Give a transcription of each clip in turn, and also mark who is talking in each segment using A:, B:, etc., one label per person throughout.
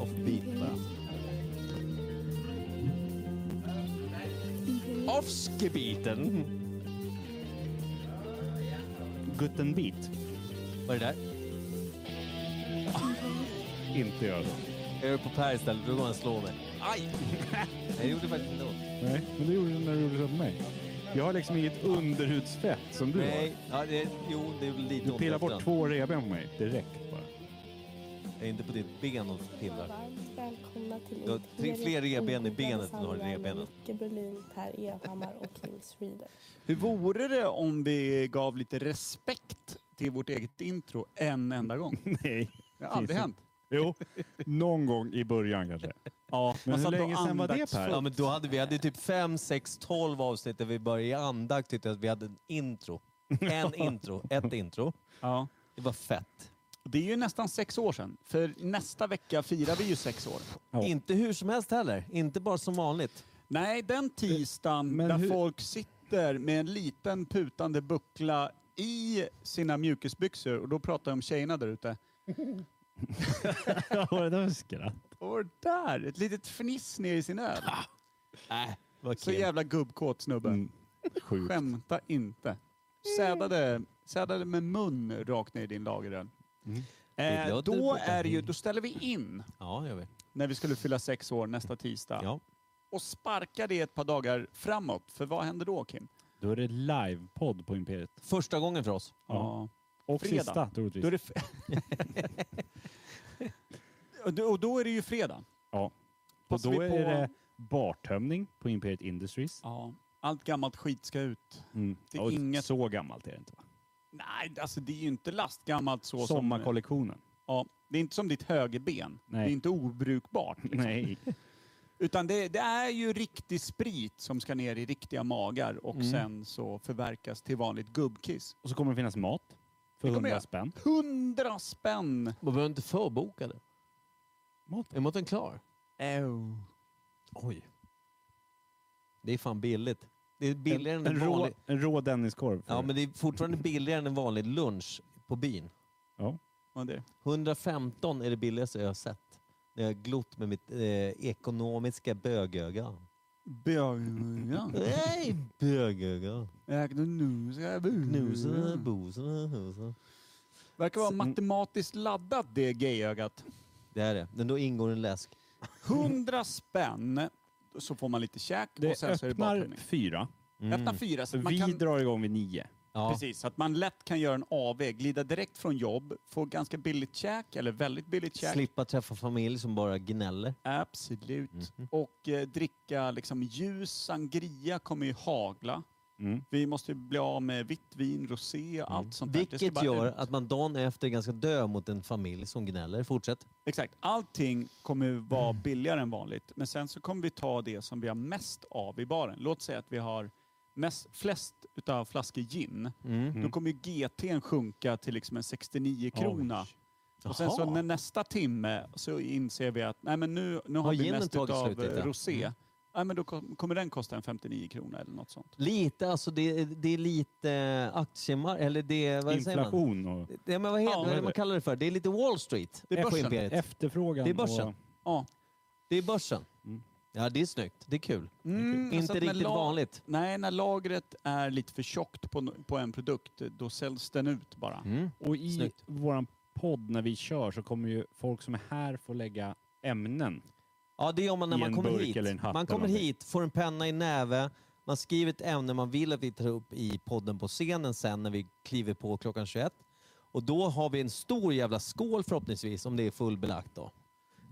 A: Offbeat bara.
B: Oh,
A: Offskebiten.
C: Gutten Beat.
A: Vad är det där?
C: Inte jag då.
A: Jag är på Per istället, då går han slå mig. Aj! Jag gjorde faktiskt inte ont.
C: Nej, men det gjorde du när du gjorde så på mig. Jag har liksom inget underhudsfett som du
A: Nej, ja, det, jo det är väl lite
C: har.
A: ont
C: Pilla bort
A: efterhand.
C: två revben på mig direkt bara.
A: Det är inte på ditt ben och pillar.
D: Varmt välkomna till
A: Du har tre- fler revben i benet än du har i
D: Sanna,
A: revbenen.
D: Micke Berlin, Per Evhammar och Nils Reader.
B: Hur vore det om vi gav lite respekt till vårt eget intro en enda gång?
C: Nej.
B: Det har aldrig
C: Precis.
B: hänt.
C: Jo, någon gång i början kanske.
B: Ja,
C: Men hur länge sedan var det Per?
A: Ja, men då hade vi hade ju typ 5, 6, 12 avsnitt där vi bara i andakt tyckte att vi hade en intro. En intro, ett intro.
B: Ja.
A: Det var fett.
B: Det är ju nästan sex år sedan. För nästa vecka firar vi ju sex år.
C: Ja.
A: Inte hur som helst heller. Inte bara som vanligt.
B: Nej, den tisdagen
C: Men
B: där
C: hur-
B: folk sitter med en liten putande buckla i sina mjukisbyxor och då pratar jag om tjejerna där ute.
C: Ja, det där var skratt.
B: Och där, ett litet fniss ner i sin öl.
C: Ah,
A: Äh, vad
B: Så
A: kul.
B: jävla gubbkåt snubbe.
C: Mm. Sjukt.
B: Skämta inte. Sädade, sädade med mun rakt ner i din lageröl.
C: Mm.
A: Det
B: Eh,
A: låter
B: då,
A: bra.
B: är det ju, då ställer vi in
A: Ja, det gör vi.
B: när vi skulle fylla sex år
C: Mm.
B: nästa tisdag
A: Ja.
B: och sparkar det ett par dagar framåt. För vad händer då Kim?
C: Då är det livepodd på Imperiet.
A: Första gången för oss.
C: Ja. Och
B: Fredag.
C: sista troligtvis.
B: Då är det f- och, då, och då är det ju fredag.
C: Ja. Och
B: Passar
C: då
B: vi
C: är
B: på-
C: det bartömning på Imperiet Industries.
B: Ja. Allt gammalt skit ska ut.
C: Mm.
B: Det är
C: Och
B: inget-
C: Så gammalt är det inte va?
B: Nej, alltså det är ju inte lastgammalt så som...
C: Sommarkollektionen.
B: Ja, det är inte som ditt högerben.
C: Nej.
B: Det är inte obrukbart. Liksom.
C: Nej.
B: Utan det, det är ju riktig sprit som ska ner i riktiga magar och
C: Mm.
B: sen så förverkas till vanligt gubbkiss.
C: Och så kommer det finnas mat. För
B: Det kommer
C: 100
B: jag.
C: spänn.
B: Hundra spänn!
A: Man behöver inte förboka det.
C: Maten.
A: Är maten klar? Oj. Det är fan billigt. Det är billigare
C: En,
A: än en
C: rå,
A: vanlig...
C: en rå Denniskorv. för-
A: Ja, men det är fortfarande billigare än en vanlig lunch på byn.
C: ja.
B: Ja, det.
A: 115 är det billigaste jag har sett. När jag har glott med mitt eh, ekonomiska bögöga.
B: Börja.
A: Nej, bögöga.
B: Ägde nu ska jag
A: Knusen,
B: Mm.
A: bosen, husen.
B: Verkar vara
C: Mm.
B: matematiskt laddat det gayögat.
A: Det är det. Men då ingår en läsk.
B: Hundra spänn så får man lite käk och
C: Det
B: sen så är det
C: öppnar
B: bakning.
C: fyra.
B: Öppna fyra så att man
C: Vi
B: kan...
C: drar igång vid nio.
A: Mm. Ja.
B: Precis, så att man lätt kan göra en avväg. Glida direkt från jobb, få ganska billigt käk eller väldigt billigt käk.
A: Slippa träffa familj som bara gnäller.
B: Absolut.
C: Mm.
B: Och eh, dricka liksom ljus sangria kommer ju hagla.
C: Mm.
B: Vi måste ju bli av med vitt vin, rosé,
A: Mm.
B: allt sånt där. Det ska
A: Vilket
B: bara
A: gör
B: ut.
A: att man dagen efter är ganska dö mot en familj som gnäller. Fortsätt.
B: Exakt. Allting kommer ju vara
A: Mm.
B: billigare än vanligt. Men sen så kommer vi ta det som vi har mest av i baren. Låt säga att vi har mest, flest utav flaskor gin.
A: Mm.
B: Då kommer ju GT'n sjunka till liksom en 69 krona. Och sen så
A: Jaha.
B: när nästa timme så inser vi att nej men nu, nu har
A: Har
B: vi
A: ginen
B: mest
A: tagit
B: utav
A: slut lite?
B: eh, rosé.
A: Mm.
B: Nej, men då kom- kommer den kosta en 59 kronor eller något sånt.
A: Lite, alltså det, det är lite aktiemarknad, eller det, vad säger man?
C: Inflation och
A: Ja, men vad heter
B: Ja,
A: vad är det man
C: det-
A: kallar det för? Det är lite Wall Street
B: Det är
A: på
B: börsen.
A: Imperiet.
C: efterfrågan.
A: Det är börsen.
C: Och,
B: Ja.
A: Det är börsen. Ja, det är snyggt. Det är kul.
B: Mm, så
A: Inte
B: att när
A: riktigt
B: la-
A: vanligt.
B: Nej, när lagret är lite för tjockt på, n- på en produkt, då säljs den ut bara.
A: Mm.
C: och i
A: Snyggt.
C: våran podd när vi kör så kommer ju folk som är här få lägga ämnen.
A: Ja, det gör man när
C: I
A: man
C: en
A: kommer
C: burk
A: hit.
C: eller en hatt
A: man
C: eller
A: kommer
C: någonting.
A: hit, får en penna i näve, man skriver ett ämne man vill att vi tar upp i podden på scenen sen när vi kliver på klockan 21. Och då har vi en stor jävla skål förhoppningsvis, om det är fullbelagt då.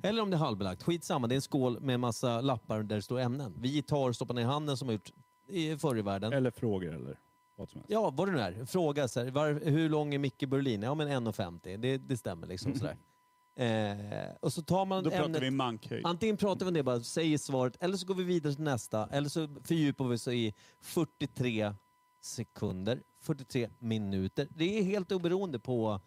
A: Eller om det är halvbelagt. Skitsamma, det är en skål med en massa lappar där det står ämnen. Vi tar och stoppar ner handen som har gjort i- förr i världen.
C: Eller frågor eller vad som helst.
A: Ja, vad det nu är. Fråga så här, var, hur lång är Micke Berlin? Ja, men 1,50. Det, det stämmer liksom sådär. Eh, och så tar man
B: Mm. Då pratar
A: ämnet-
B: vi mankhöjd.
A: Antingen pratar vi om det bara, säger svaret, eller så går vi vidare till nästa, eller så fördjupar vi oss i 43 sekunder, 43 minuter. Det är helt oberoende på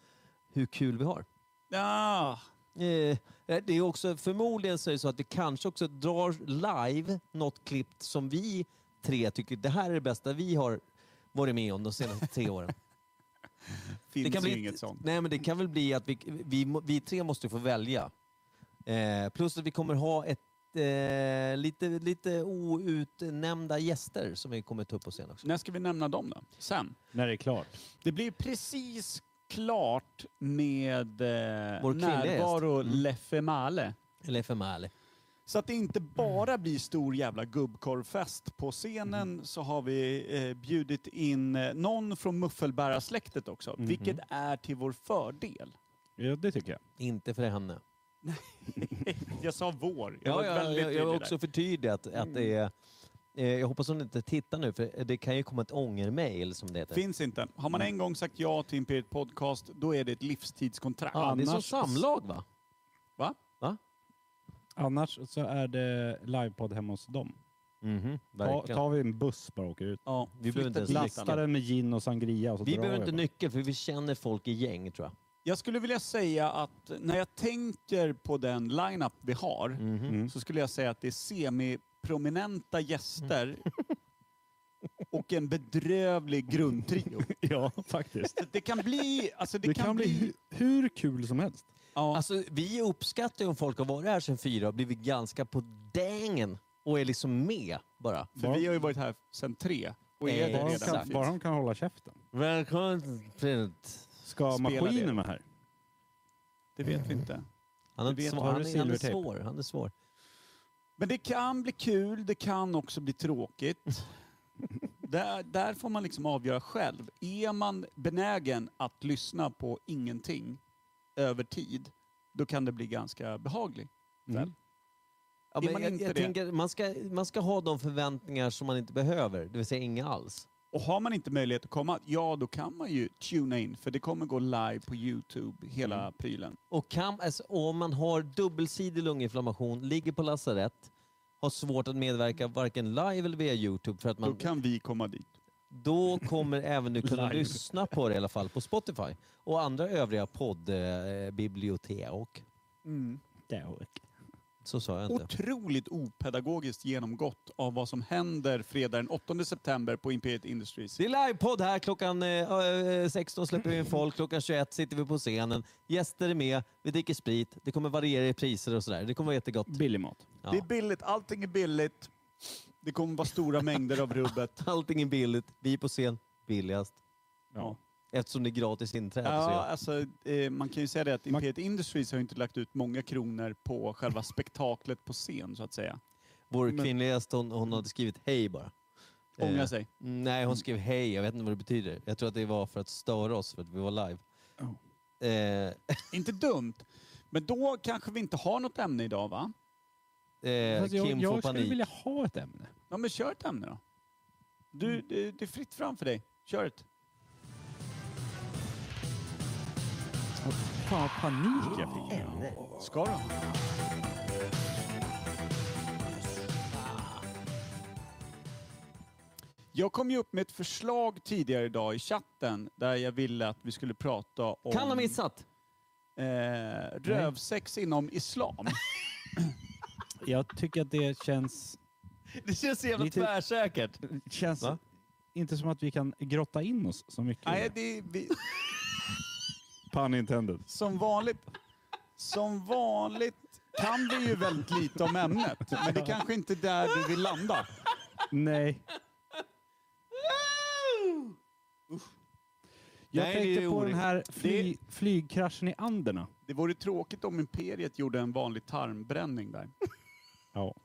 A: hur kul vi har.
B: Ja,
A: Eh, det är också, förmodligen så är det så att vi kanske också drar live något klipp som vi tre tycker det här är det bästa vi har varit med om de senaste tre åren.
B: Finns
A: kan
B: ju
A: bli-
B: inget sånt.
A: Nej, men det kan väl bli att vi, vi, må- vi tre måste få välja. Eh, plus att vi kommer ha ett eh, lite, lite outnämnda gäster som vi kommer ta upp på scen också.
B: När ska vi nämna dem då? Sen.
C: När det är klart.
B: Det blir precis klart med eh,
A: Vår kvinnliga gäst.
B: närvaro
A: Mm.
B: Lefemale.
A: Eller FML.
B: Så att det inte
A: Mm.
B: bara blir stor jävla gubbkorvfest. På scenen
A: Mm.
B: så har vi eh, bjudit in eh, någon från Muffelbära-släktet också,
C: Mhm.
B: vilket är till vår fördel.
C: Ja, det tycker jag.
A: Inte för henne.
B: jag sa vår. Jag
A: Ja,
B: var
A: ja,
B: väldigt
A: jag, jag
B: tydlig
A: har
B: där.
A: också förtydligat att det är... Eh, jag hoppas hon inte tittar nu, för det kan ju komma ett ångermail som det heter.
B: Finns inte. Har man en gång sagt ja till Imperiet Podcast, då är det ett livstidskontrakt.
A: ah, det är som
C: annars-
A: samlag, va?
C: Annars så är det livepodd hemma hos dem.
A: Mhm,
C: Ta,
A: verkligen.
C: tar vi en buss bara och åker ut.
B: Ja,
A: Vi behöver inte ens
B: flytta dit.
A: lyssna.
C: Lastar den med gin och sangria och så
A: Vi
C: drar
A: behöver inte
C: bara.
A: nyckel, för vi känner folk i gäng, tror jag.
B: Jag skulle vilja säga att när jag tänker på den line-up vi har,
A: Mhm.
C: Mm.
B: så skulle jag säga att det är semi-prominenta gäster
A: Mm.
B: och en bedrövlig grundtrio.
C: Ja, faktiskt.
B: Så det kan bli... Alltså det,
C: Det, kan, bli hu- hur kul som helst.
B: Ja,
A: Alltså, vi uppskattar ju om folk har varit här sedan fyra och blivit ganska på dängen och är liksom med bara.
B: för vi har ju varit här sedan tre. Och är
A: Eh,
B: det
C: Bara
B: redan.
C: de,
A: exakt.
C: kan, bara de kan hålla käften.
A: Välkommen Print.
C: Ska
B: Spela det.
C: maskinen vara här?
B: Det vet vi inte.
A: Han är,
B: Du vet,
A: svår,
C: har du
A: han, är, han är
C: silvertejp?
A: svår. Han är svår.
B: Men det kan bli kul, det kan också bli tråkigt. Där, där får man liksom avgöra själv. Är man benägen att lyssna på ingenting över tid, då kan det bli ganska behaglig.
C: Mm.
A: Ja,
B: Är
A: men
B: man
A: jag,
B: inte
A: jag
B: det?
A: tänker, man, ska, man ska ha de förväntningar som man inte behöver, det vill säga inga alls.
B: Och har man inte möjlighet att komma, ja då kan man ju tuna in för det kommer gå live på Youtube, hela prylen.
A: Och kan, alltså, om man har dubbelsidig lunginflammation, ligger på lasarett, har svårt att medverka varken live eller via Youtube, för att
B: Då
A: man,
B: kan vi komma dit.
A: då kommer även du kunna
C: Live.
A: lyssna på det i alla fall på Spotify och andra övriga poddbibliotek.
C: Mm.
A: Så sa jag inte.
B: Otroligt opedagogiskt genomgått av vad som händer fredag den 8 september på Imperiet Industries.
A: Det är livepodd här. Klockan eh, eh, 16 släpper vi in folk, klockan 21 sitter vi på scenen. Gäster är med, vi dricker sprit, det kommer variera i priser och sådär. Det kommer vara jättegott.
C: Billig mat.
A: Ja.
B: Det är billigt, allting är billigt. Det kommer vara stora mängder av rubbet.
A: Allting är billigt, vi är på scen billigast.
C: Ja.
A: Eftersom det är gratis inträde. så
B: Ja,
A: ja.
B: alltså, eh, man kan ju säga det att Imperiet Industries har ju inte lagt ut många kronor på själva spektaklet på scen så att säga.
A: Vår
B: men-
A: kvinnliga gäst, hon, hon hade skrivit hej bara.
B: Ångra
A: Eh,
B: sig.
A: Nej, hon skrev hej. Jag vet inte vad det betyder. Jag tror att det var för att störa oss för att vi var live. Eh,
B: Inte dumt. Men då kanske vi inte har något ämne idag va?
A: eh,
C: Fast jag
A: Kim får
C: jag skulle
A: panik.
C: vilja ha ett ämne.
B: Ja men kör ett ämne då. Du,
A: Mm.
B: det, det är fritt fram för dig. Kör ett.
C: Fan vad panik jag fick.
B: Ska du? Jag kom ju upp med ett förslag tidigare idag i chatten där jag ville att vi skulle prata om
A: Kan ha missat!
B: eh, rövsex inom islam.
C: Jag tycker att det känns...
A: Det känns så jävla
C: Lite-
A: tvärsäkert.
C: känns
A: Va?
C: inte som att vi kan grotta in oss så mycket. i
B: Nej,
C: det.
B: det, vi,
C: Pun intended.
B: som vanligt som vanligt kan vi ju väldigt lite om ämnet, men det kanske inte är där vi vill landa.
C: Nej. Jag
A: Nej, det
C: tänkte
A: är
C: på den
A: orimligt.
C: här fly, flygkraschen i Anderna.
B: Det vore tråkigt om Imperiet gjorde en vanlig tarmbränning där.
C: Ja.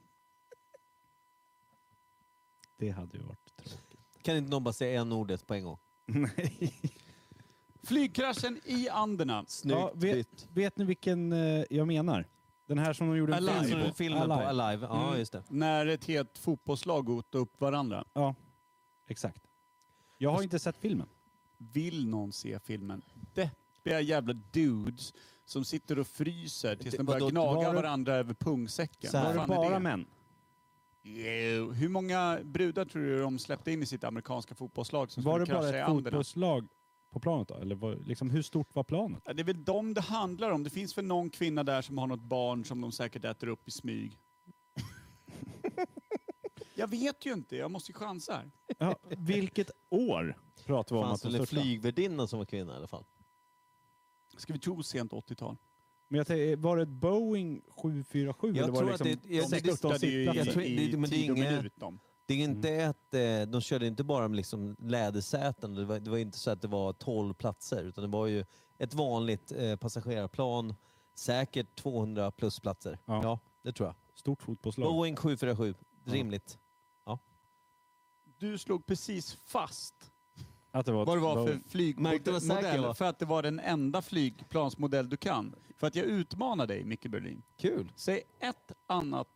C: Det hade ju varit tråkigt.
A: Kan inte någon bara säga en ordet på en gång?
C: Nej.
B: Flygkraschen i Anderna.
A: Snyggt
C: Ja, vet,
A: bytt.
C: vet ni vilken eh, jag menar? Den här som de gjorde en
B: Alive.
C: film
A: Som
C: på.
A: du Alltså, filmen på
C: Alive.
A: Alive. Ja,
B: Mm.
A: just det.
B: När ett helt fotbollslag åt upp varandra.
C: Ja, exakt. Jag har inte sett filmen.
B: Vill någon se filmen? Deppiga jävla dudes som sitter och fryser tills
A: Det-
B: de börjar
A: vadå,
B: gnaga
C: var det-
B: varandra över pungsäcken.
A: Så här.
B: Vad
C: Var
B: fan
C: det
B: är
C: bara män?
B: Jo, Hur många brudar tror du de släppte in i sitt amerikanska fotbollslag som
C: Var det
B: skulle
C: bara
B: krascha i
C: ett
B: Anderna?
C: fotbollslag på planet då? Eller var, liksom, hur stort var planet?
B: Ja, Det är väl dem det handlar om. Det finns väl någon kvinna där som har något barn som de säkert äter upp i smyg. Jag vet ju inte, jag måste ju chansa här.
C: Ja, vilket år? pratar vi om att
A: Fanns
C: de
A: väl en
C: största.
A: flygvärdinna som var kvinna i alla fall?
B: Ska vi tro sent 80-tal?
C: Men jag tänkte, var det ett Boeing 747?
A: Jag
C: eller var
A: tror
C: det
A: att
C: liksom
A: det- jag-
C: de
A: det-
C: största
B: Tittade ju i,
A: Jag
C: sittplatserna?
A: tror-
B: i
A: det- men det är
B: tid och
A: inget-
B: minut de.
A: Det är
C: Mm.
A: inte ett, eh, de körde inte bara med liksom lädersäten, det var, det var inte så att det var 12 platser utan det var ju ett vanligt eh, passagerarplan, säkert 200 plus platser.
C: Ja.
A: Ja, det tror jag.
C: Stort fotbollslag.
A: Boeing 747,
C: Ja.
A: rimligt.
B: Du slog precis fast
C: Att det var ett
B: vad det var för
C: Boeing.
A: Märkte vad säker jag
B: flygmodell.
A: var.
B: För att det var den enda flygplansmodell du kan. För att jag utmanar dig, Micke Berlin.
A: Kul!
B: Säg ett annat,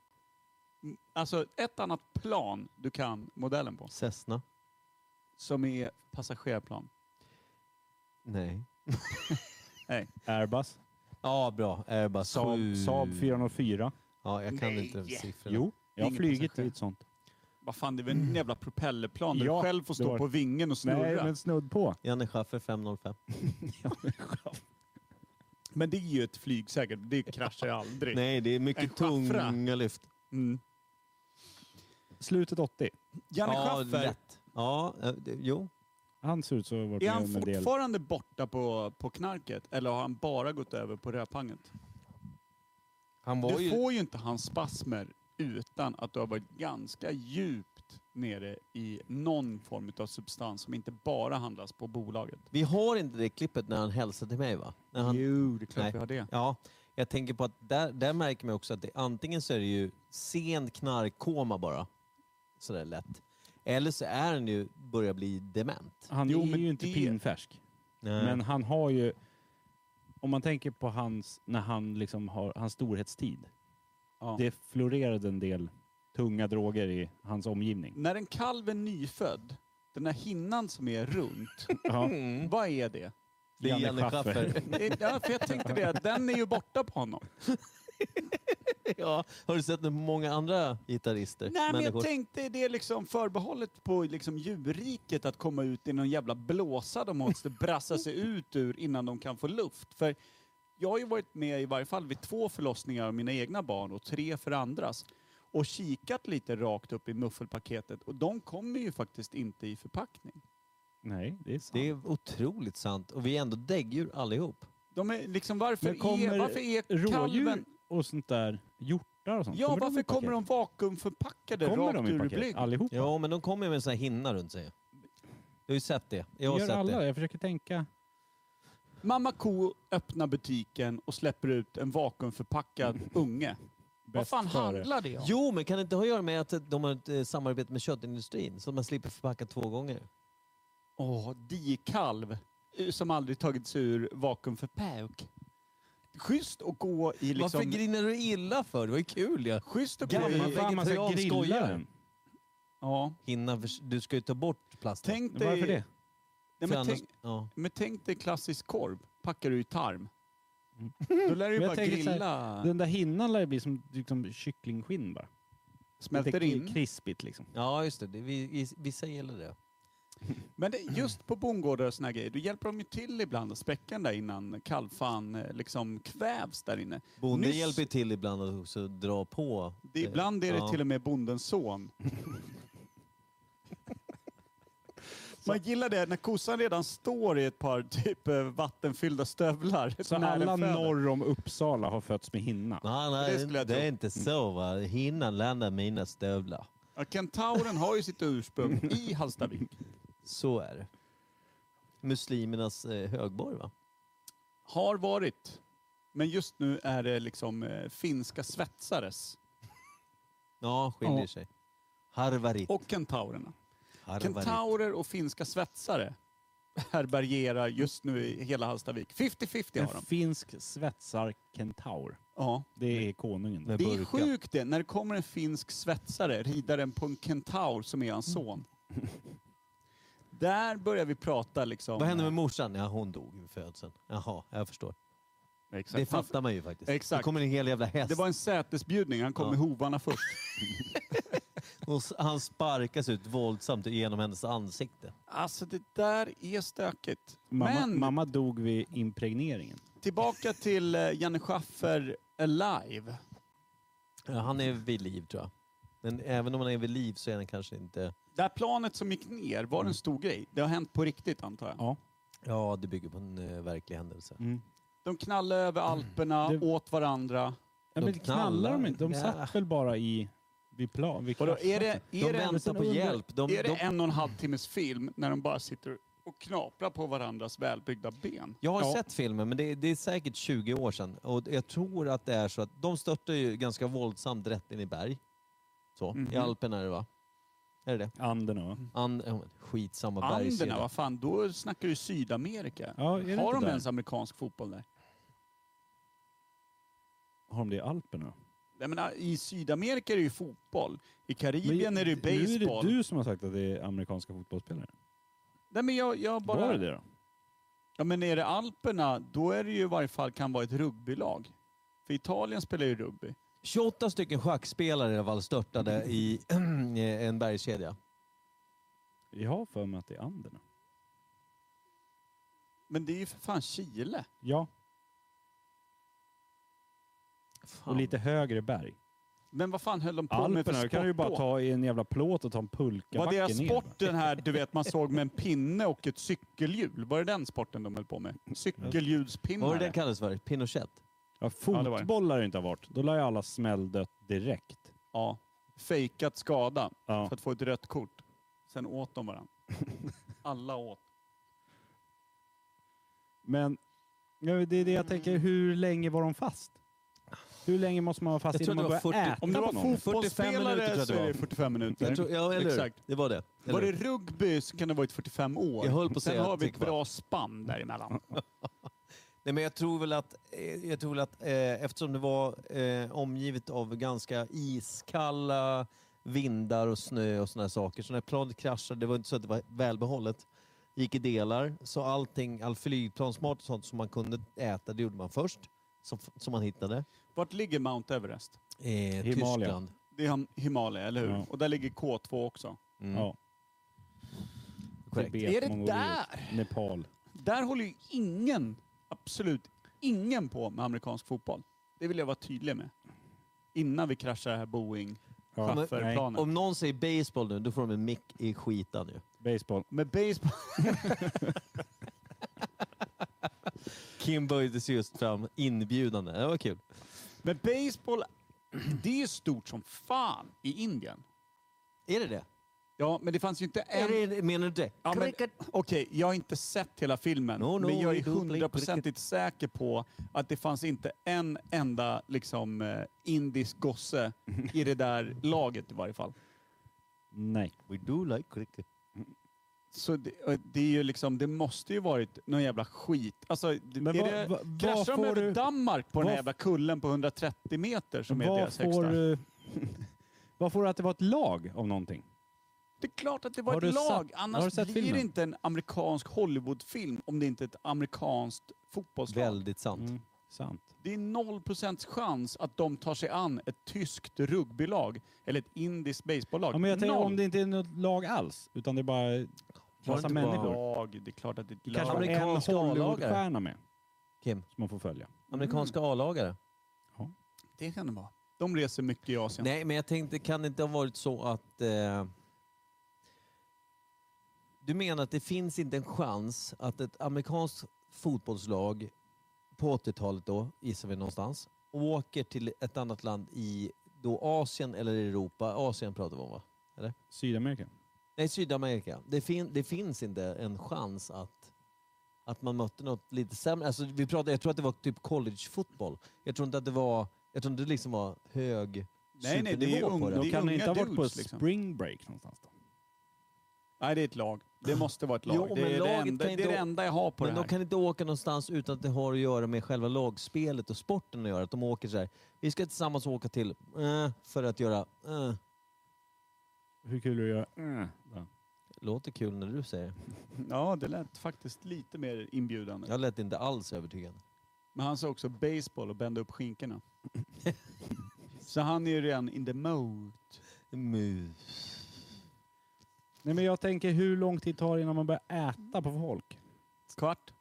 B: alltså ett annat plan du kan modellen på.
A: Cessna?
B: Som är passagerarplan.
A: Nej.
C: Airbus.
A: Ja, bra. Airbus
C: Saab,
A: 7.
C: Saab 404.
A: Ja, jag kan
B: Nej.
A: inte siffrorna.
C: Jo, jag har
B: Ingen
C: flugit
B: passagerare.
C: i ett sånt.
B: Vad fan, det är väl en jävla propellerplan där
C: Ja,
B: du själv får
C: det
B: stå
C: var-
B: på vingen och snurra.
C: Nej,
B: men...
C: men snudd på.
A: Janne Schaffer 505.
B: det är ju ett flyg säkert, det kraschar ju aldrig.
A: Nej, det är
B: En
A: mycket
B: schaffra.
A: tunga lyft.
B: Mm.
C: Slutet 80.
B: Janne
A: ja,
B: Schaffer,
A: lätt. Ja, eh, det- jo.
C: Han ser ut så varit
B: är
C: med
B: han
C: om en del.
B: fortfarande borta på, på knarket? Eller har han bara gått över på rödpanget?
A: Han
B: Du får ju inte hans spasmer utan att du har varit ganska djupt nere i någon form av substans som inte bara handlas på bolaget.
A: Vi har inte det klippet när han hälsar till mig va? När han...
B: Jo, det är
A: Nej.
B: vi har det.
A: Ja, jag tänker på att där, där märker man också att det, antingen så är det ju sen knarkkoma bara, sådär lätt. Eller så är han ju, börjar bli dement.
C: Han
B: Jo,
C: är
B: men
C: ju inte
B: det-
C: pinfärsk.
A: Nej.
C: Men han har ju... Om man tänker på hans, när han liksom har, hans storhetstid.
B: Ja.
C: Det florerade en del tunga droger i hans omgivning.
B: När en kalv är nyfödd, den här hinnan som är runt,
C: Ja.
A: Mm.
B: vad är det?
A: Det är
C: Janne
A: Janne
C: Schaffer.
A: Schaffer.
B: Det- Ja, för jag tänkte det, att den är ju borta på honom.
A: ja, har du sett det på många andra gitarrister?
B: Nej, men jag
A: Människor.
B: tänkte det är liksom förbehållet på liksom djurriket att komma ut i någon jävla blåsa de måste brassa sig ut ur innan de kan få luft. För jag har ju varit med i varje fall vid två förlossningar av mina egna barn och tre för andras och kikat lite rakt upp i muffelpaketet och de kommer ju faktiskt inte i förpackning.
C: Nej, det är sant.
A: Det är otroligt sant. Och vi är ändå däggdjur allihop.
B: De är liksom, varför,
C: Men kommer
B: är, varför är
C: Rådjur
B: kalven...
C: och sånt där, hjortar och sånt.
B: Ja,
C: de
B: varför
C: i paket?
B: kommer de vakuumförpackade
C: Kommer
B: rakt
C: de i
B: ur
C: paket?
B: blygd?
C: Allihopa?
A: Ja, men de kommer ju med en sån här hinna runt sig. Du har ju sett det. Jag har
C: Gör
A: sett
C: alla?
A: det.
C: Jag försöker tänka.
B: Mamma ko öppnar butiken och släpper ut en
C: Mm.
B: vakuumförpackad unge. Vad
C: Bäst
B: fan
C: före.
B: handlar det om?
A: Jo, men kan det inte ha att göra med att de har ett eh, samarbete med köttindustrin så man slipper förpacka två gånger?
B: Åh, dikalv eh, som aldrig tagit sig ur vakuumförpack. Schysst att gå i
A: Varför
B: liksom...
A: grinar du illa för? Det var ju kul ja.
B: Schysst att gå
A: Gammal
B: i...
A: fan.
C: Varför man ska
A: vegetarian
C: grilla
A: skojar.
C: den?
B: Ja,
A: Hinna för... Du ska ju ta bort plasten.
B: tänk dig...
C: Varför det?
B: Nej,
A: För
B: men,
A: annars-
B: tänk,
A: ja.
B: men tänk dig klassisk korv. Packar du i tarm.
C: Mm.
B: Då lär du ju
C: Men jag
B: bara
C: tänker så här,
B: grilla.
C: Den där hinnan lär ju bli som liksom, kycklingskinn bara.
B: smälter
C: Lite
B: in.
C: Krispigt liksom.
A: ja, just det. det. Vi, vi- vissa gillar det.
B: Men det, just på bondgårdar och såna grejer, då hjälper de ju till ibland att späcka den där innan kalvfan eh, liksom kvävs där inne.
A: Bonden
B: Nyss-
A: hjälper till ibland att också dra på.
B: Det,
A: eh,
B: ibland är det
A: ja.
B: till och med bondens son. Man gillar det när kossan redan står i ett par typ eh, vattenfyllda stövlar.
C: Så
B: när den
C: alla
B: föder.
C: norr om Uppsala har fötts med hinna.
A: Nej,
B: Det
A: nej,
B: skulle
A: det,
B: jag tro. Mm.
A: är inte så va. Hinnan landar mina stövlar.
B: Ja, Kentauren har ju sitt ursprung i Hallstavik.
A: Så är det. Muslimernas eh, högborg va?
B: Har varit. Men just nu är det liksom eh, finska svetsares
A: Ja, skiljer
B: Ja.
A: sig. Harvarit.
B: och kentaurerna.
A: Harvarit.
B: Kentaurer och finska svetsare härbärgerar just nu i hela Hallstavik. 50-50
C: En
B: har de.
C: finsk svetsarkentaur.
B: Ja.
C: Det är konungen.
A: Med
B: Det är
A: burkar.
B: sjukt det, när det kommer en finsk svetsare rider den på en kentaur som är hans son. Där börjar vi prata liksom...
A: Vad hände med morsan? Ja, hon dog vid födseln. Jaha, jag förstår. Det
B: Exakt.
A: fattar man ju faktiskt.
B: Exakt.
A: Det kommer en hel jävla häst.
B: Det var en sätesbjudning, han kom
A: Ja.
B: med hovarna först.
A: Och s- han sparkas ut våldsamt genom hennes ansikte.
B: Alltså det där är stökigt.
C: Mamma,
B: Men
C: mamma dog vid impregneringen.
B: tillbaka till eh, Janne Schaffer Alive.
A: Ja, Han är vid liv tror jag. Men även om man är vid liv så är den kanske inte...
B: Det här planet som gick ner, var det en stor grej? Det har hänt på riktigt antar jag?
C: Ja.
A: Ja, det bygger på en eh, verklig händelse.
C: Mm.
B: De knallade över Alperna,
C: Det-
B: åt varandra.
C: ja men
A: De
C: knallar de inte? De
A: knallar. Ja.
C: satt väl bara i... Vid plan, vid
B: Vadå, är det,
C: kraschplatsen.
A: De
B: är det,
A: väntar på
C: de-
A: hjälp. De,
B: är det
A: de,
B: en och en halv timmes film när de bara sitter och knaprar på varandras välbyggda ben?
A: jag har
C: Ja.
A: sett filmen, men det, det är säkert 20 år sedan. Och jag tror att det är så att de störtar ju ganska våldsamt rätt in i berg. Så,
B: Mhm.
A: i Alpen är det va? Är det det?
C: Anden va?
A: And, ja, men skitsamma
B: Anderna,
A: bergskedja.
B: vad fan, då snackar du Sydamerika.
C: Ja, är det
B: Har
C: inte
B: de
C: där?
B: ens amerikansk fotboll där?
C: Har de det i Alperna?
B: Jag menar, i Sydamerika är det ju fotboll. I Karibien är det ju
C: Nu är
B: baseball.
C: det du som har sagt att det är amerikanska fotbollsspelare.
B: Nej men jag, jag bara...
C: Var det det då?
B: Ja men är det Alperna, då är det ju i varje fall kan vara ett rugbylag. För Italien spelar ju rugby.
A: 28 stycken schackspelare i alla fall störtade
B: Mm.
A: i en bergskedja.
C: Jag har för mig att det är Anderna.
B: Men det är ju för fan Chile.
C: Ja,
A: Fan.
C: och lite högre berg.
B: Men vad fan höll de på med för
C: Alperna, då
B: sport
C: kan du ju bara
B: då?
C: ta i en jävla plåt och ta en
B: Var
C: pulkabacke
B: deras
C: ner.
B: sport den här, du vet, man såg med en pinne och ett cykelhjul? Var det den sporten de höll på med?
A: Vad var det den
B: Cykelhjulspinnare?
A: kallades för? Pinochet?
B: Ja,
C: Ja,
B: det var det.
C: fotboll lär det inte ha varit. Då lär ju alla smälldött direkt.
B: Ja. Fejkat skada
C: Ja.
B: för att få ett rött kort. Sen åt de varandra. Alla åt.
C: Men ja, det är det jag tänker, hur länge var de fast? Hur länge måste man vara fast
A: Jag tror
C: innan man
A: det var
C: börjar
A: 40
C: äta
B: Om det
C: på
B: var
C: någon?
A: 45 minuter tror
B: fotbollsspelare
A: jag
B: så
A: det
B: är det
A: var.
B: 45 minuter.
A: Jag tror, ja, eller hur?
B: Exakt.
A: Det var det. Eller
B: Var det
A: hur?
B: rugby så kan det ha varit 45 år.
A: Jag höll på att
B: Sen
A: säga
B: har vi ett
A: Tikva.
B: bra spann däremellan.
A: Nej, men jag tror väl att, eh, jag tror väl att eh, eftersom det var eh, omgivet av ganska iskalla vindar och snö och såna här saker, så när planet kraschade, det var inte så att det var välbehållet, gick i delar. Så allting, all flygplansmat och sånt som man kunde äta, det gjorde man först, som, som man hittade.
B: Vart ligger Mount Everest?
A: Eh,
C: Himalaya.
A: Tyskland.
B: Det är Him- Himalaya, eller hur?
C: Ja.
B: Och där ligger K2 också.
A: Mm,
C: Ja,
A: korrekt.
C: Tibet,
B: Är det
C: Mongoliet,
B: där?
C: Nepal.
B: Där håller ju ingen, absolut ingen på med amerikansk fotboll. Det vill jag vara tydlig med. Innan vi kraschar det här
C: Ja, nej,
B: Boeing-chaufförplanet.
A: Om någon säger baseball nu, då får de en mick i skitan ju.
C: baseball.
B: Med baseball.
A: Kim böjde sig just fram inbjudande. Det var kul.
B: Men baseball, det är ju stort som fan i Indien.
A: Är det det?
B: Ja, men det fanns ju inte en...
A: Är det menar du det?
B: Ja, men, Okej, jag har inte sett hela filmen,
A: No, no,
B: men jag
A: we
B: är
A: do play
B: hundraprocentigt säker på att det fanns inte en enda liksom, eh, indisk gosse i det där laget i varje fall.
C: Nej.
A: We do like cricket.
B: Så det, eh, det, är ju liksom, det måste ju varit någon jävla skit. Alltså, det-
C: Men
B: är
C: vad-
B: det,
C: vad- vad
B: kraschar de
C: får
B: över
C: du-
B: Danmark på den
C: vad-
B: här jävla kullen på 130 meter som är
C: Vad
B: deras
C: får,
B: högsta?
C: du- vad får du att det var ett lag av någonting?
B: Det är klart att det var
C: Har du
B: ett lag,
C: sett- har du
B: annars
C: sett
B: blir
C: filmen?
B: det inte en amerikansk Hollywoodfilm om det inte är ett amerikanskt fotbollslag.
A: Väldigt sant.
C: Mm, sant.
B: Det är 0% chans att de tar sig an ett tyskt rugbylag eller ett indiskt baseballlag.
C: Ja, men jag tänker
B: Noll.
C: om det inte är något lag alls, utan det är bara
A: Var
C: massa
A: det inte bara-
C: människor.
B: Lag, det är klart att det är ett
C: Det
B: lag.
C: kanske var en
A: Amerikanska
C: Hollywoodstjärna med,
A: Kim,
C: som man får följa.
A: amerikanska A-lagare.
B: Det kan det vara. De reser mycket i Asien.
A: Nej, men jag tänkte, kan det inte ha varit så att... Eh, du menar att det finns inte en chans att ett amerikanskt fotbollslag på 80-talet då, gissar vi någonstans, åker till ett annat land i då Asien eller Europa. Asien pratar vi om va?
C: Sydamerika.
A: Nej, Sydamerika. Det, fin- det finns inte en chans att, att man mötte något lite sämre. Alltså, vi pratade, jag tror att det var typ collegefotboll. Jag tror inte att det var, jag tror inte det liksom var hög
B: Nej, nej, det är
A: supernivå
B: ung-
A: på
B: det
A: det.
C: Då
B: är
C: kan
B: unga
C: det inte ha varit på
B: dudes, liksom.
C: spring break någonstans då?
B: Nej, det är ett lag. Det måste vara ett lag.
A: Jo,
B: det,
A: men
B: är det,
A: laget
B: enda,
A: kan
B: det
A: inte
B: är det
A: å-
B: enda jag har på
A: Men
B: det
A: de
B: här.
A: kan inte åka någonstans utan att det har att göra med själva lagspelet och sporten att göra. Att de åker så här. Vi ska tillsammans åka till eh, för att göra... Eh.
C: Hur kul är det att göra? Mm. Ja.
A: Låter kul när du säger det.
B: Ja, det lät faktiskt lite mer inbjudande.
A: Jag lät inte alls övertygad.
B: Men han sa också baseball och bända upp skinkorna. Så han är ju redan in the mode.
A: Mus.
C: Nej men jag tänker hur lång tid tar det innan man börjar äta på folk?
B: Kvart.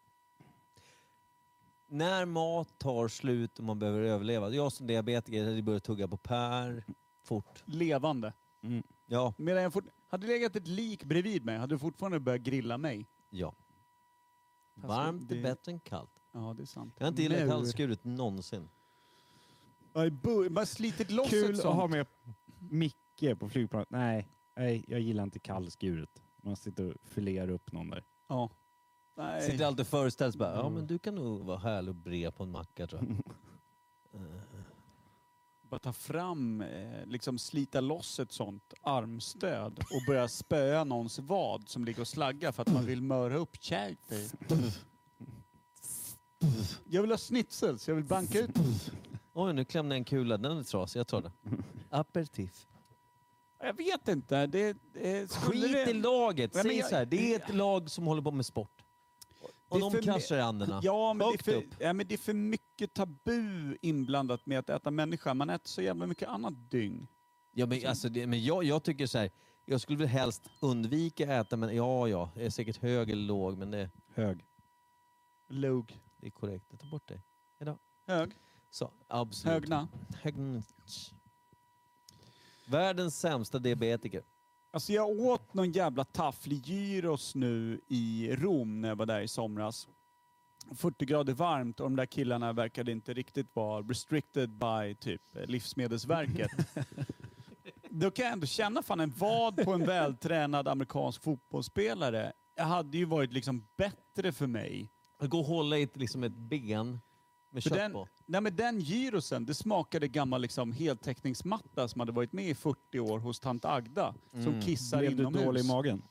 A: När mat tar slut och man behöver överleva. Jag som diabetiker, jag börjar tugga på pär, fort.
B: levande.
C: Mm.
A: Ja,
B: Medan jag fort... Hade det legat ett lik bredvid mig hade du fortfarande börjat grilla mig.
A: ja.
B: Alltså,
A: Varmt
B: det-
A: är bättre än kallt.
B: Ja, det är sant.
A: Jag har inte gillat
B: Mur.
A: kallskuret någonsin.
B: Nej, bu- Man har slitit loss ett
C: Kul att
B: sånt.
C: ha med Micke på flygplanet. Nej, nej, jag gillar inte kallskuret. Man sitter och filerar upp någon där.
B: Ja.
A: Jag
B: Nej.
A: sitter alltid och föreställer mig bara, ja
C: Mm.
A: men du kan nog vara härlig och bred på en macka tror jag.
B: Bara ta fram, eh, liksom slita loss ett sånt armstöd och börja spöa någons vad som ligger och slaggar för att man vill möra upp charity. Jag vill ha schnitzels, jag vill banka ut.
A: Oj, nu klämde jag en kula. Den är trasig, jag tar den. Aperitif.
B: Jag vet inte. Det, eh, skulle
A: Skit
B: det-
A: i laget!
B: Nej, men
A: Säg
B: jag-
A: så här, det är ett lag som håller på med sport. Och
B: Det är
A: de
B: för me-
A: kraschar i handen.
B: Ja men, det är
A: Högt
B: för,
A: upp.
B: ja, men det är för mycket tabu inblandat med att äta människa. Man äter så jävla mycket annat dyng.
A: Ja, men, alltså, det, men jag, jag tycker så här, jag skulle väl helst undvika att äta, men ja, ja, jag är säkert hög eller låg, men det,
C: Hög.
B: Log.
A: det är korrekt. Jag tar bort dig.
B: Hög.
A: Så, absolut.
B: Högna.
A: Högna. Världens sämsta diabetiker.
B: Alltså jag åt någon jävla taffligyros nu i Rom när jag var där i somras. 40 grader varmt och de där killarna verkade inte riktigt vara restricted by typ Livsmedelsverket. Då kan jag ändå känna fan en vad på en vältränad amerikansk fotbollsspelare. Det hade ju varit liksom bättre för mig
A: Att gå och hålla i ett, liksom ett ben med
B: För
A: kött
B: den,
A: på.
B: nej men den gyrosen, det smakade gammal liksom, heltäckningsmatta som hade varit med i 40 år hos tant Agda som kissar
C: Mm. Blev du
B: inomhus.
C: dålig i magen?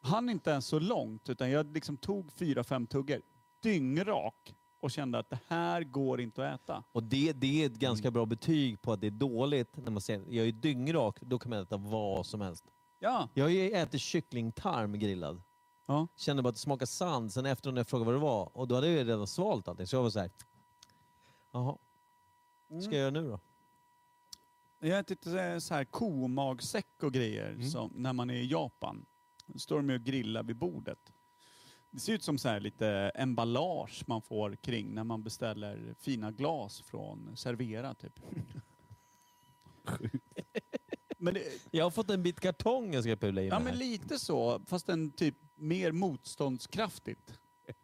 B: Han inte ens så långt, utan jag liksom tog fyra, fem tuggor, dyngrak och kände att det här går inte att äta.
A: Och det, det är ett ganska
B: Mm.
A: bra betyg på att det är dåligt. När man säger jag är dyngrak, då kan man äta vad som helst.
B: Ja,
A: Jag har ju ätit kycklingtarm grillad.
B: Ja.
A: Kände bara att det smakade sand. Sen efter när jag frågade vad det var, och då hade jag ju redan svalt allting. Så jag var så här. jaha. Vad ska jag göra nu då?
B: Mm. jag har ätit eh, så här komagsäck och grejer som, när man är i Japan. Då står de ju och grillar vid bordet. Det ser ut som så här lite emballage man får kring när man beställer fina glas från Servera typ. Men det,
A: Jag har fått en bit kartong jag ska pula i
B: ja
A: mig
B: men
A: här.
B: lite så, fast en typ mer motståndskraftigt.
A: Tugga,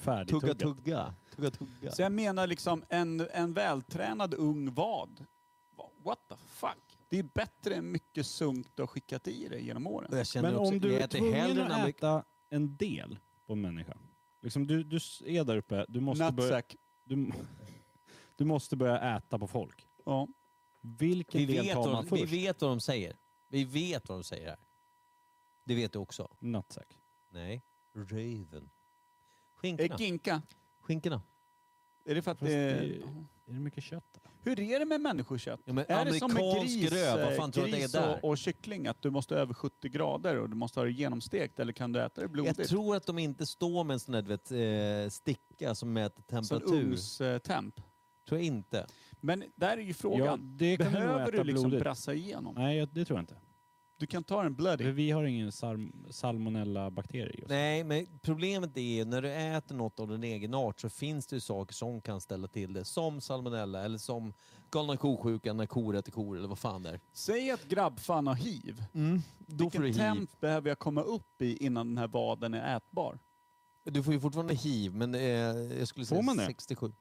C: Färdigtuggat.
A: tugga. Tugga, tugga.
B: Så jag menar liksom en, en vältränad ung vad. What the fuck? Det är bättre än mycket sunt du har skickat i dig genom åren.
A: Och jag känner
C: Men
A: också,
C: om du
A: jag
C: är
A: äter
C: tvungen
A: hellre
C: att
A: en amerik-
C: äta en del på en människa. Liksom du, du s- är där uppe, du måste, börja,
B: Nutsack.
C: du, du måste börja äta på folk.
B: Ja.
C: Vilken
A: vi,
C: del
A: vet
C: tar
A: vad,
C: man
A: de- vi
C: först?
A: vet vad de säger. Vi vet vad de säger här. Det vet du också.
C: Nutsack.
A: Nej. Röven. Skinkorna.
B: Eh, Ginka.
A: Skinkorna.
B: Är det för att
C: Fast
B: det...
C: det- Är det mycket kött? där?
B: Hur är det med människokött?
A: Ja, men
B: är det som med
A: amerikansk
B: gris,
A: röv, vad fan
B: eh,
A: tror du att det är
B: gris
A: där?
B: och, och kyckling? Att du måste över 70 grader och du måste ha det genomstekt eller kan du äta det blodigt?
A: Jag tror att de inte står med en sån där du vet, eh, sticka som mäter
B: Som
A: temperatur.
B: ugnstemp.
A: Tror jag inte.
B: Men där är ju
C: Ja,
B: frågan.
C: det kan du nog
B: Behöver
C: äta
B: du liksom
C: blodigt.
B: brassa igenom?
C: Nej, jag- det tror jag inte.
B: Du kan ta en bloody.
C: För
A: Mm.
C: vi har ingen sal- salmonella-bakterier just.
A: Nej, men problemet är ju när du äter något av din egen art så finns det ju saker som kan ställa till det. Som salmonella eller som galna ko-sjukan när kor äter kor eller vad fan det är.
B: Säg att grabbfan har hiv.
A: Då får
B: Vilken
A: du hiv.
B: temp behöver jag komma upp i innan den här vaden är ätbar?
A: Du får ju fortfarande hiv, men eh, jag skulle
C: Får
A: säga
C: man det?
A: 67.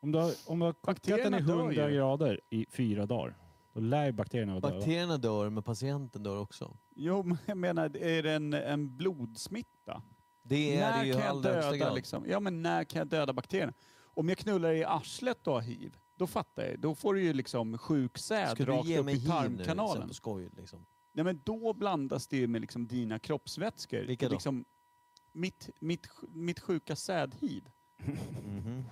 C: Om du har, om du har kokat den
B: Bakterierna
C: i
B: dör
C: 100
B: ju.
C: grader i fyra dagar, då lär ju bakterierna vara döda.
A: Bakterierna dör, men patienten dör också.
B: Jo, men jag menar, är det en, en blodsmitta?
A: Det är
B: när
A: det ju i
B: kan jag
A: allra högsta
B: döda
A: grad.
B: liksom? Ja, men när kan jag döda bakterierna? Om jag knullar i arslet och har hiv, då fattar jag. Då får du ju liksom sjuk säd
A: Ska du
B: rakt
A: ge
B: upp
A: mig
B: i
A: hiv nu liksom? sen
B: tarmkanalen.
A: på skoj? Liksom.
B: Nej, men då blandas det ju med liksom dina kroppsvätskor.
A: Vilka då?
B: Liksom, mitt, mitt, sj- mitt sjuka sädhiv.
A: Mhm.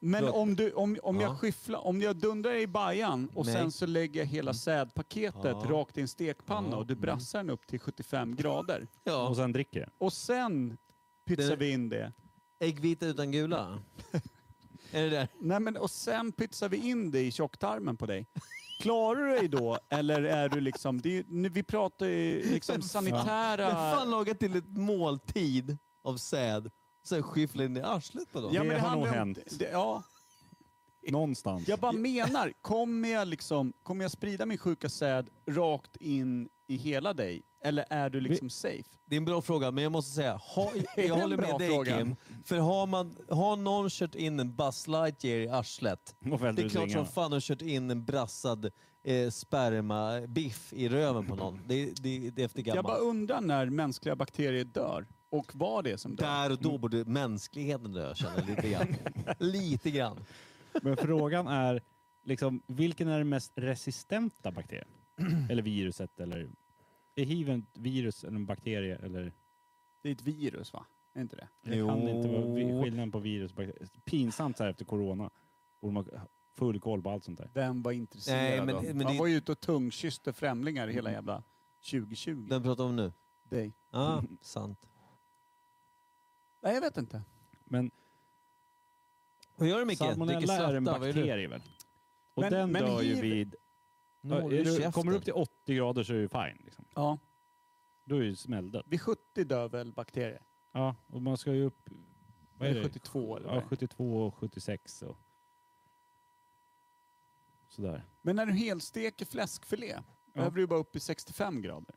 B: Men
A: Bra.
B: om, du, om, om,
A: Ja.
B: jag skyfflar, om jag dundrar i bajan och
A: Nej. Mm.
B: sen så lägger jag hela sädpaketet
A: Ja.
B: rakt i en stekpanna
A: Ja,
B: och du
A: mm.
B: brassar den upp till 75 grader.
A: Ja.
C: Och sen dricker det.
B: Och sen pytsar
A: Det-
B: vi in det.
A: Äggvita utan gula? är det där?
B: Nej, men, och sen pytsar vi in det i tjocktarmen på dig. Klarar du dig då eller är du liksom... Det är, ju- nu, vi pratar ju liksom
A: Vem
B: sanitära...
A: fan lagar till ett måltid av säd och sen skyfflar in i arslet på dem?
B: Ja,
C: Det
B: men
C: har nog
B: handlar om-
C: hänt.
B: Det, ja.
C: Någonstans.
B: Jag bara menar, kommer jag, liksom, kommer jag sprida min sjuka säd rakt in i hela dig? Eller är du liksom safe?
A: Det är en bra fråga, men jag måste säga, ha, jag
B: en
A: håller med
B: bra
A: dig
B: fråga.
A: Kim. För har, man, har någon kört in en Buzz Lightyear i arslet,
C: Och fällde
A: det är
C: ut
A: klart
C: ringarna.
A: som fan har kört in en brassad eh, spermabiff i röven på någon. Det, det, det är efter
B: Jag bara
A: gammalt.
B: undrar när mänskliga bakterier dör. Och vad det är som dör.
A: Där och då borde mänskligheten dö, känner jag lite grann. lite grann.
C: Men frågan är, liksom, vilken är den mest resistenta bakterien? eller viruset? Eller, är hiv ett virus eller en bakterie? Eller,
B: Det är ett virus va? Är inte det?
C: det kan det inte vara vi-
A: Jo.
C: skillnaden på virus och bakterier. Pinsamt så här efter corona. Borde man ha full koll på allt sånt där.
B: Vem var intresserad
A: Nej, men-
B: av?
A: men
B: Han
A: det- Mm.
B: var ju ute och tungkysste främlingar hela jävla 2020.
A: Den pratar vi om nu.
B: Dig.
A: Ja, ah, sant.
B: Nej, jag vet inte.
C: Men
A: Vad gör du Micke? Dricker
C: salmonella är en
A: slattar, vad gör du?
C: bakterie väl? Och
B: Men-
C: den
B: men
C: dör ju
B: hiv-
C: vid...
A: Nu
C: Ja,
A: håller
C: är du,
A: käften.
C: kommer du upp till 80 grader så är du fine. Liksom.
B: Ja.
C: Då är du smälldöd.
B: Vid 70 dör väl bakterier?
C: Ja, och man ska ju upp... Vad är det?
B: 72 eller vad
C: Ja,
B: det är.
C: 72 och 76 och... Sådär.
B: Men när du helsteker fläskfilé, behöver du bara upp i 65 grader.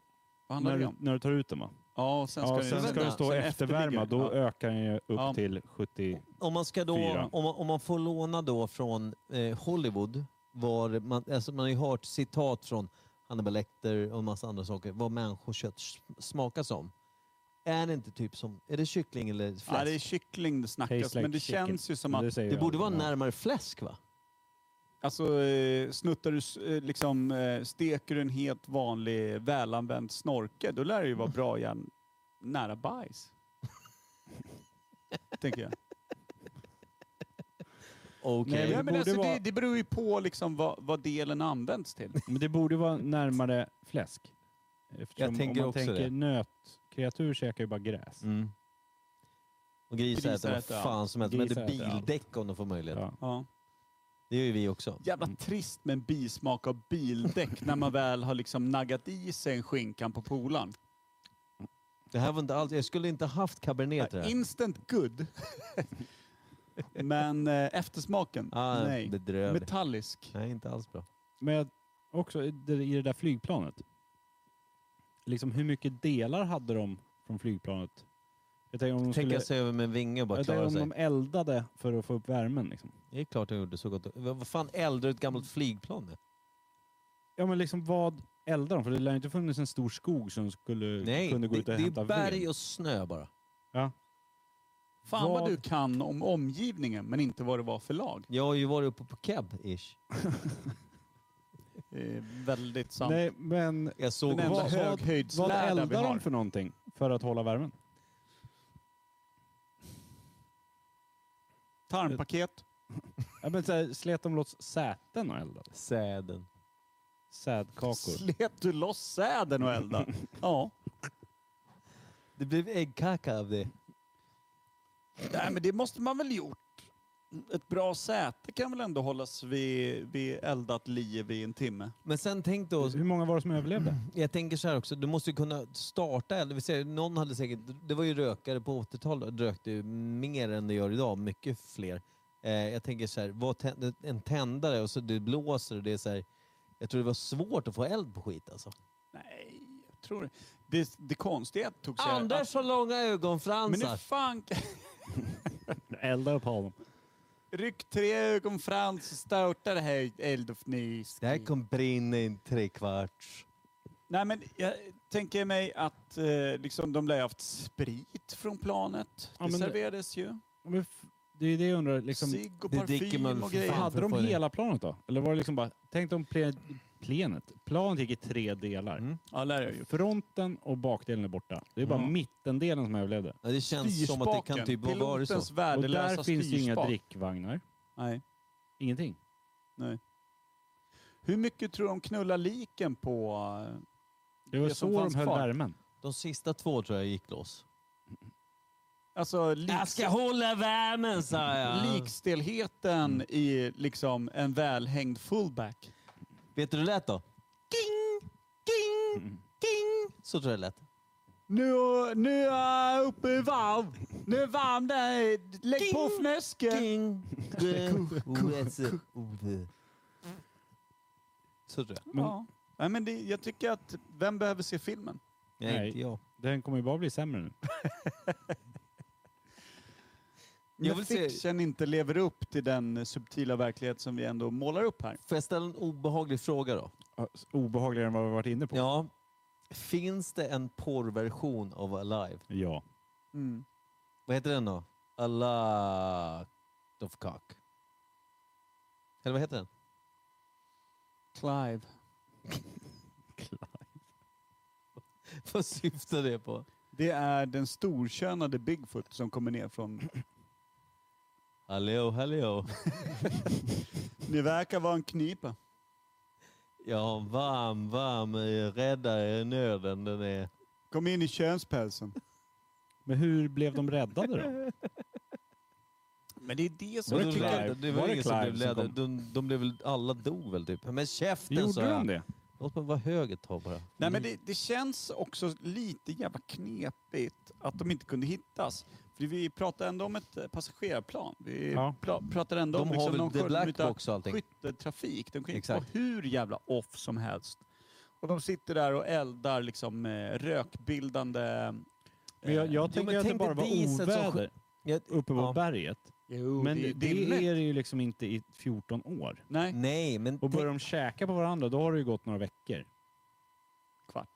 B: Vad handlar
C: När
B: det
C: du,
B: om?
C: när du tar ut den va?
B: Ja, och sen ska,
C: ja,
B: det-
C: sen ska
A: vänta.
C: den stå
B: sen
C: eftervärma.
B: efterligger-
C: Då
B: ja.
C: ökar den ju upp
B: Ja.
C: till 70.
A: Om man, ska då,
C: Fyra.
A: om, man, om man får låna då från eh, Hollywood, var man, alltså man har ju hört citat från Hannibal Lecter och en massa andra saker, vad människokött s- smakar som. Är det inte typ som, är det kyckling eller fläsk?
B: Ja, det
A: det,
B: är kyckling det snackas,
C: Tastes like
B: men det
C: chicken.
B: känns ju som att
C: säger jag
A: borde vara
C: aldrig.
A: närmare fläsk va?
B: alltså, eh, snuttar du, s- eh, liksom, eh, steker du en helt vanlig välanvänd snorke, då lär det ju vara bra igen nära bajs. Tänker jag.
A: Okej.
C: Nej,
B: Nej,
C: det
B: men alltså,
C: borde
B: det,
C: vara-
B: det beror ju på liksom vad, vad delen används till.
C: Men det borde vara närmare fläsk. Eftersom om
A: tänker
C: man
A: också
C: tänker
A: det.
C: nötkreatur käkar ju bara gräs.
A: Mm. Och grisar äter vad
B: Grisar äter
A: fan
B: allt.
A: som helst, de äter
C: Grisar äter allt.
A: bildäck om de får möjlighet.
C: Ja.
B: Ja. Mm.
A: Det gör ju vi också.
B: Jävla trist med en bismak av bildäck när man väl har liksom naggat i sig en skinkan på polaren.
A: Det här var inte alls, jag skulle inte haft cabernet till det här.
B: Instant good. Men eh, eftersmaken,
A: Ah,
B: nej.
A: Bedrövligt.
B: Metallisk.
A: Nej, inte alls bra.
C: Men jag, också i det, i det där flygplanet. Liksom hur mycket delar hade de från flygplanet? Jag tänker om de, skulle,
A: Tänka sig över med en vinge och bara
C: jag tänker
A: klara
C: om
A: sig.
C: de eldade för att få upp värmen. Liksom.
A: Det är klart jag gjorde så gott. Vad vad fan eldar du ett gammalt flygplan med?
C: Ja men liksom vad eldar de? För det lär ju inte funnits en stor skog som skulle,
A: Nej,
C: kunde
A: det,
C: gå ut
A: det
C: och
A: är
C: hämta
A: ju berg
C: ved.
A: och snö bara.
B: Fan vad
C: Vad-
B: du kan om omgivningen, men inte vad det var för lag.
A: Jag har ju varit uppe på cab-ish.
B: Eh, väldigt sant.
C: Nej men
A: Jag såg
B: Den enda
C: vad- vad- vad
B: höjdslärda vi
C: eldar
B: har.
C: de för någonting för att hålla värmen?
B: Tarmpaket.
C: Ja, men så här, slet de loss säten och eldade?
A: säden.
C: Sädkakor.
B: Slet du loss säden och elda? ja.
A: Det blev äggkaka av det.
B: Nej, men det måste man väl gjort. Ett bra säte kan väl ändå hållas vid, vid eldat liv i en timme?
A: Men sen tänk då,
C: Hur många var det som överlevde?
A: jag tänker så här också, du måste ju kunna starta eld. Det vill säga, Någon hade säkert, det var ju rökare på 80-talet, rökte ju mer än det gör idag, mycket fler. Eh, jag tänker så här, vad tänd, en tändare och så det blåser och det är så här, jag tror det var svårt att få eld på skit alltså.
B: Nej, jag tror det. Det, det konstiga är att det tog sig...
A: Anders
B: att,
A: har långa
B: men
A: ögonfransar.
B: nu fan...
C: Elda upp honom.
B: Ryck tre ögon frans och starta det här Eld of Nys.
A: Det här kommer brinna i tre kvarts.
B: Nej, men jag tänker mig att eh, liksom, de lär ju haft sprit från planet.
C: Ja,
B: det
C: men det-
B: serverades ju.
C: Men f- Det är det jag undrar. Liksom,
B: Cigg och
A: det dricker
B: parfym
A: man väl
B: och
A: för
B: grejer.
A: fan.
C: hade de
A: för fan.
C: hela planet då? Eller var det liksom bara... Tänk om plen, plenet. Planet gick i tre delar.
A: Mm.
B: Ja, lär jag ju.
C: Fronten och bakdelen är borta. Det är bara
B: Mm.
C: mittendelen som överlevde.
A: Ja, det känns som att det kan typ vara vara så.
B: Pilotens
C: Och
B: värdelösa
C: där finns ju inga
B: styrspak.
C: drickvagnar.
B: Nej.
C: Ingenting.
B: Hur mycket tror du de knullar liken på? eh,
C: Det var
B: Det som
C: så de
B: fanns
C: höll
B: kvar.
C: värmen.
A: De sista två tror jag gick loss. Äh,
B: Alltså, lik...
A: hålla värmen sa
B: likstelheten
A: Mm.
B: i liksom en välhängd fullback.
A: Vet du hur det lät då? King, king, king. Så tror jag det lät.
B: Nu, nu är jag uppe i varv. Nu är varm där. Lägg på fnöske.
A: King. Så tror jag.
B: Ja. Nej, men det, jag tycker att vem behöver se filmen?
A: Nej,
C: Nej.
A: inte jag.
C: Den kommer ju bara bli sämre nu.
B: Jag
A: Jag
B: vill
A: vill se-
B: fiction inte lever upp till den subtila verklighet som vi ändå målar upp här.
A: Får jag ställa en obehaglig fråga då?
C: Obehagligare än vad vi varit inne på.
A: Ja. Finns det en porrversion av Alive?
C: Ja.
B: Mm.
A: Vad heter den då? A lot of cock. Eller vad heter den?
B: Clive.
A: Vad syftar det på?
B: Det är den storkönade Bigfoot som kommer ner från...
A: Hallå, hallå.
B: Ni verkar vara en knipa.
A: Jag har en varm, varm eh, räddare i nöden. Den är...
B: Kom in i könspälsen.
C: Men hur blev de räddade då?
B: Men det är det
A: Så
C: Var det
A: de
C: Clive?
A: räddade- Det
C: Var
A: var
C: det
A: ingen som
C: Clive
A: blev
C: som
A: räddade.
C: kom?
A: De, de blev väl... Alla dog väl typ? Men käften sa
C: Gjorde de
A: jag.
C: det?
A: Låt mig vara hög ett tag bara.
B: Nej, men det, det känns också lite jävla knepigt att de inte kunde hittas. För vi pratar ändå om ett eh, passagerarplan. Vi
C: Ja.
B: pla- pratar ändå
A: De
B: om
A: har
B: liksom någon
A: väl the black
B: skönmyta-
A: box och allting.
B: skytteltrafik. De kan ju vara
A: Exakt.
B: hur jävla off som helst. Och de sitter där och eldar liksom eh, rökbildande... eh,
C: Men jag, jag
A: men
C: tänker att det
A: tänk dig
C: bara var
A: diset som
C: oväder
A: Jag,
C: uppe på
A: Ja.
C: berget.
B: Jo,
C: Men det,
B: är...
C: är det ju liksom inte i 14 år.
B: Nej,
A: nej, men,
C: Och
A: tänk,
C: börjar de käka på varandra, då har det ju gått några veckor.
B: kvart.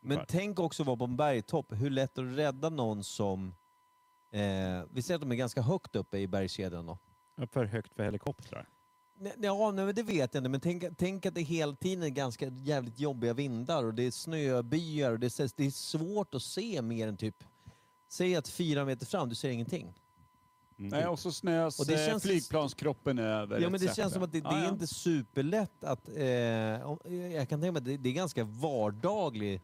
A: men tänk också vara på en bergtopp. Hur lätt är det att rädda någon som... Eh, vi säger att de är ganska högt uppe i bergskedjan då.
C: Ja, För högt för helikoptrar.
A: Nej, Ja, nej, men det vet jag inte. Men tänk, tänk att det hela tiden är ganska jävligt jobbiga vindar och det är snöbyar och det är, det är svårt att se mer än typ... Säg att fyra meter fram, du ser ingenting.
C: Mm.
B: Nej, och så snös
A: Och det
B: eh,
A: känns-
B: flygplanskroppen över.
A: Ja, men det
B: etc.
A: känns som att det, det
B: Ja,
A: är
B: ja.
A: inte superlätt att... Eh, om- jag kan tänka mig att det, det är ganska vardaglig...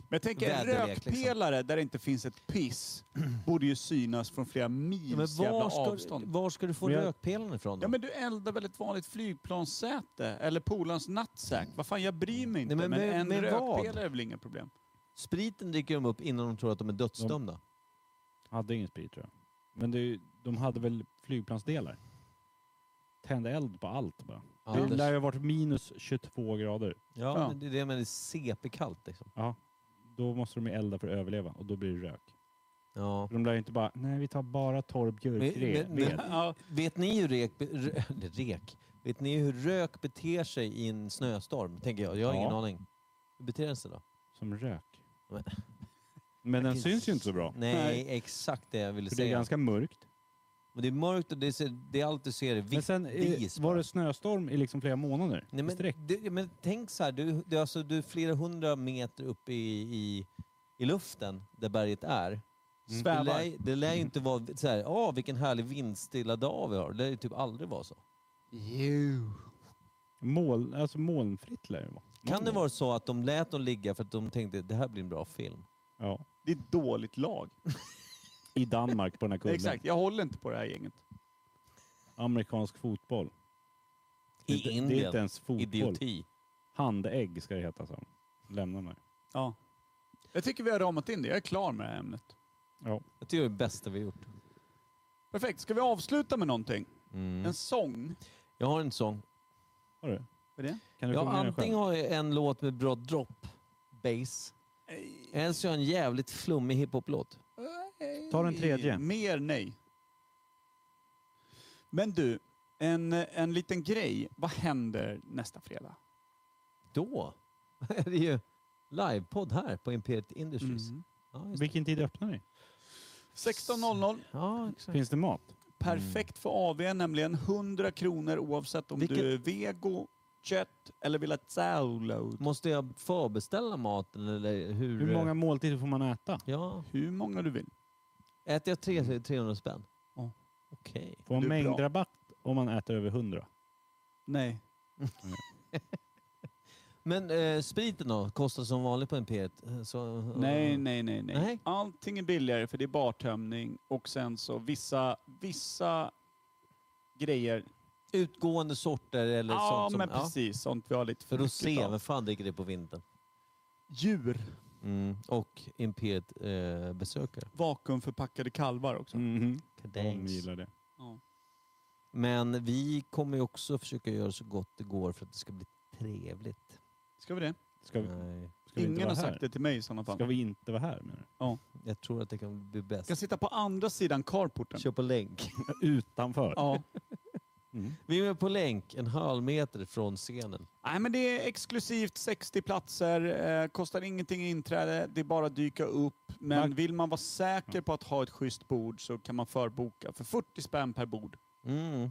B: Men jag tänker en
A: väderlek, liksom.
B: rökpelare där det inte finns ett piss borde ju synas från flera mils
A: Ja, men
B: jävla
A: var ska,
B: avstånd.
A: var ska du få
C: Men jag-
A: rökpelaren ifrån då?
B: Ja men du eldar väl ett vanligt flygplanssäte eller polarns nattsäck. Vad fan, jag bryr mig inte.
A: men
B: men,
A: med-
B: en
A: med
B: rökpelare
A: vad?
B: är väl inget problem.
A: Spriten dricker de upp innan de tror att de är dödsdömda.
C: Hade ingen sprit tror jag. Men det, är ju- de hade väl flygplansdelar? Tände eld på allt bara. Det lär
A: Anders.
C: ju ha varit minus 22 grader.
A: Ja,
B: Ja.
A: men det är det men det är CP-kallt liksom.
C: Då måste de ju elda för att överleva och då blir det rök.
A: Ja.
C: För de lär ju inte bara, nej vi tar bara torr björkved.
A: Men- men-
C: ved."
B: Ja,
A: Vet ni hur rek, re, eller rek, vet ni hur rök beter sig i en snöstorm? Tänker jag. Jag har ingen
C: Ja.
A: aning. Hur beter den sig då?
C: Som rök.
A: Men-
C: Men den
A: Vilken
C: syns ju inte så bra.
A: Nej,
B: Nej.
A: exakt det jag ville
C: För det är
A: säga.
C: ganska mörkt.
A: Men det är mörkt och det, ser, det är allt du ser är vitt
C: Men sen eh,
A: dis
C: var
A: bara.
C: det snöstorm i liksom flera månader
A: Nej,
C: i sträck.
A: men, det, men tänk så här, du, du, alltså, du är flera hundra meter upp i, i, i luften där berget
C: Mm.
A: är. Det
B: svävar.
A: lär, det lär ju inte vara så här, åh vilken härlig vindstilla dag vi har. Det lär ju typ aldrig vara så.
B: Jo.
C: Mål, alltså molnfritt lär det vara.
A: Kan det vara så att de lät dem ligga för att de tänkte det här blir en bra film?
C: Ja.
B: Det är ett dåligt lag.
C: I Danmark på den här kullen.
B: Exakt, jag håller inte på det här gänget.
C: Amerikansk fotboll.
A: I
C: det, är inte- Det är
A: Indien.
C: inte ens fotboll.
A: Idioti.
C: Handägg ska det heta så. Lämna mig.
B: Ja. Jag tycker vi har ramat in det. Jag är klar med det här ämnet.
A: Jag tycker det är det bästa vi gjort.
B: Perfekt. Ska vi avsluta med någonting?
A: Mm.
B: En sång?
A: Jag har en sång.
C: Har du?
B: Vad är det?
C: Kan du
A: Jag
C: sjunga den
A: antingen
C: själv?
A: har jag en låt med bra drop, bass.
B: Eh,
A: Eller så har jag en jävligt flummig hiphop-låt.
C: Ta den tredje.
B: Mer nej. Men du, en, en liten grej. Vad händer nästa fredag?
A: Då är det ju livepodd här på Imperiet Industries.
B: Mm.
A: Ja, just det.
C: Vilken tid öppnar ni?
A: Mm.
B: 16.00.
A: ja, exakt.
C: Finns det mat?
B: Perfekt för AV nämligen 100 kronor oavsett om
A: Vilket-
B: du är vego, kött eller vill ha download.
A: Måste jag förbeställa maten eller hur?
C: Hur många måltider får man äta?
A: Ja.
B: Hur många du vill.
A: Äter jag tre så är det 300 spänn?
B: Ja.
A: Okej.
C: Får man
B: Du är bra.
C: mängdrabatt om man äter över 100?
B: Nej.
A: Men eh, spriten då? Kostar som vanligt på Imperiet? eh, Så,
B: Nej, nej, nej, nej,
A: Nej.
B: Allting är billigare för det är bartömning och sen så vissa, vissa grejer.
A: Utgående sorter eller
B: ja,
A: sånt som...
B: men precis. Sånt vi har lite
A: För att
B: mycket
A: se,
B: av.
A: vem fan dricker det på vintern?
B: Djur.
A: Mm. Och Imperiet eh, besöker.
B: Vakuumförpackade kalvar också.
C: Mhm. De
A: Kadängs.
C: gillar det.
A: Men vi kommer ju också försöka göra så gott det går för att det ska bli trevligt.
B: Ska vi det?
C: Ska vi,
A: Nej,
C: ska vi inte
B: Ingen har
C: vara
B: sagt
C: här?
B: det till mig i sådana fall.
C: Ska vi inte vara här menar
A: jag tror att det kan bli
B: Jag ska
A: bäst.
B: sitta på andra sidan carporten.
A: Kör på länk.
C: du? Utanför?
B: Ja.
C: Mm.
A: Vi är på länk, en halv meter från scenen.
B: Nej, men det är exklusivt 60 platser, eh, kostar ingenting i inträde, det är bara att dyka upp. Men
C: Mark-
B: vill man vara säker på att ha ett schysst bord så kan man förboka för 40 spänn per bord.
A: Mm.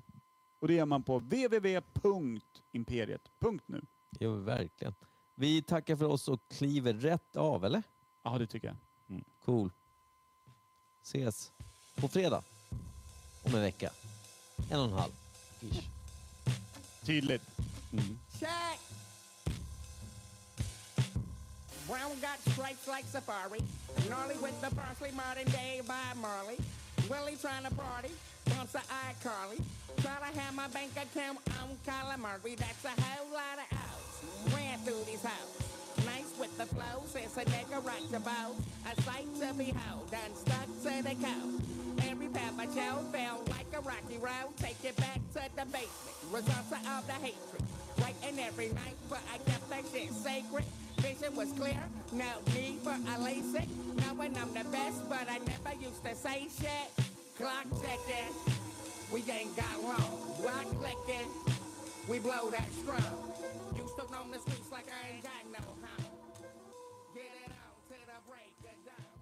B: Och det gör man på www.imperiet.nu.
A: Jo, verkligen. Vi tackar för oss och kliver rätt av, eller?
B: Ja, det tycker jag.
A: Cool. Ses på fredag. Om en vecka. En och en halv. Ish.
B: Tydligt.
E: Check! Brown got stripes like safari. Gnarly with the parsley, modern day by Marley. Willie trying to party, bouncer iCarly. Try to have my bank account on calamari. That's a whole lot of outs. Ran through these hoes. Nice with the flows, it's a nigga rock the boat. A sight to behold, done stuck to the coat. Every path I chose felt like a rocky road. Take it back to the basement. Results of the hatred. Right and every night, but I kept that shit sacred. Vision was clear, no need for a LASIK. Knowing I'm the best, but I never used to say shit. Clock checking, we ain't got long. Block clicking, we blow that strong. Used to roam the streets like I ain't got no home. Get it on to the break of dawn.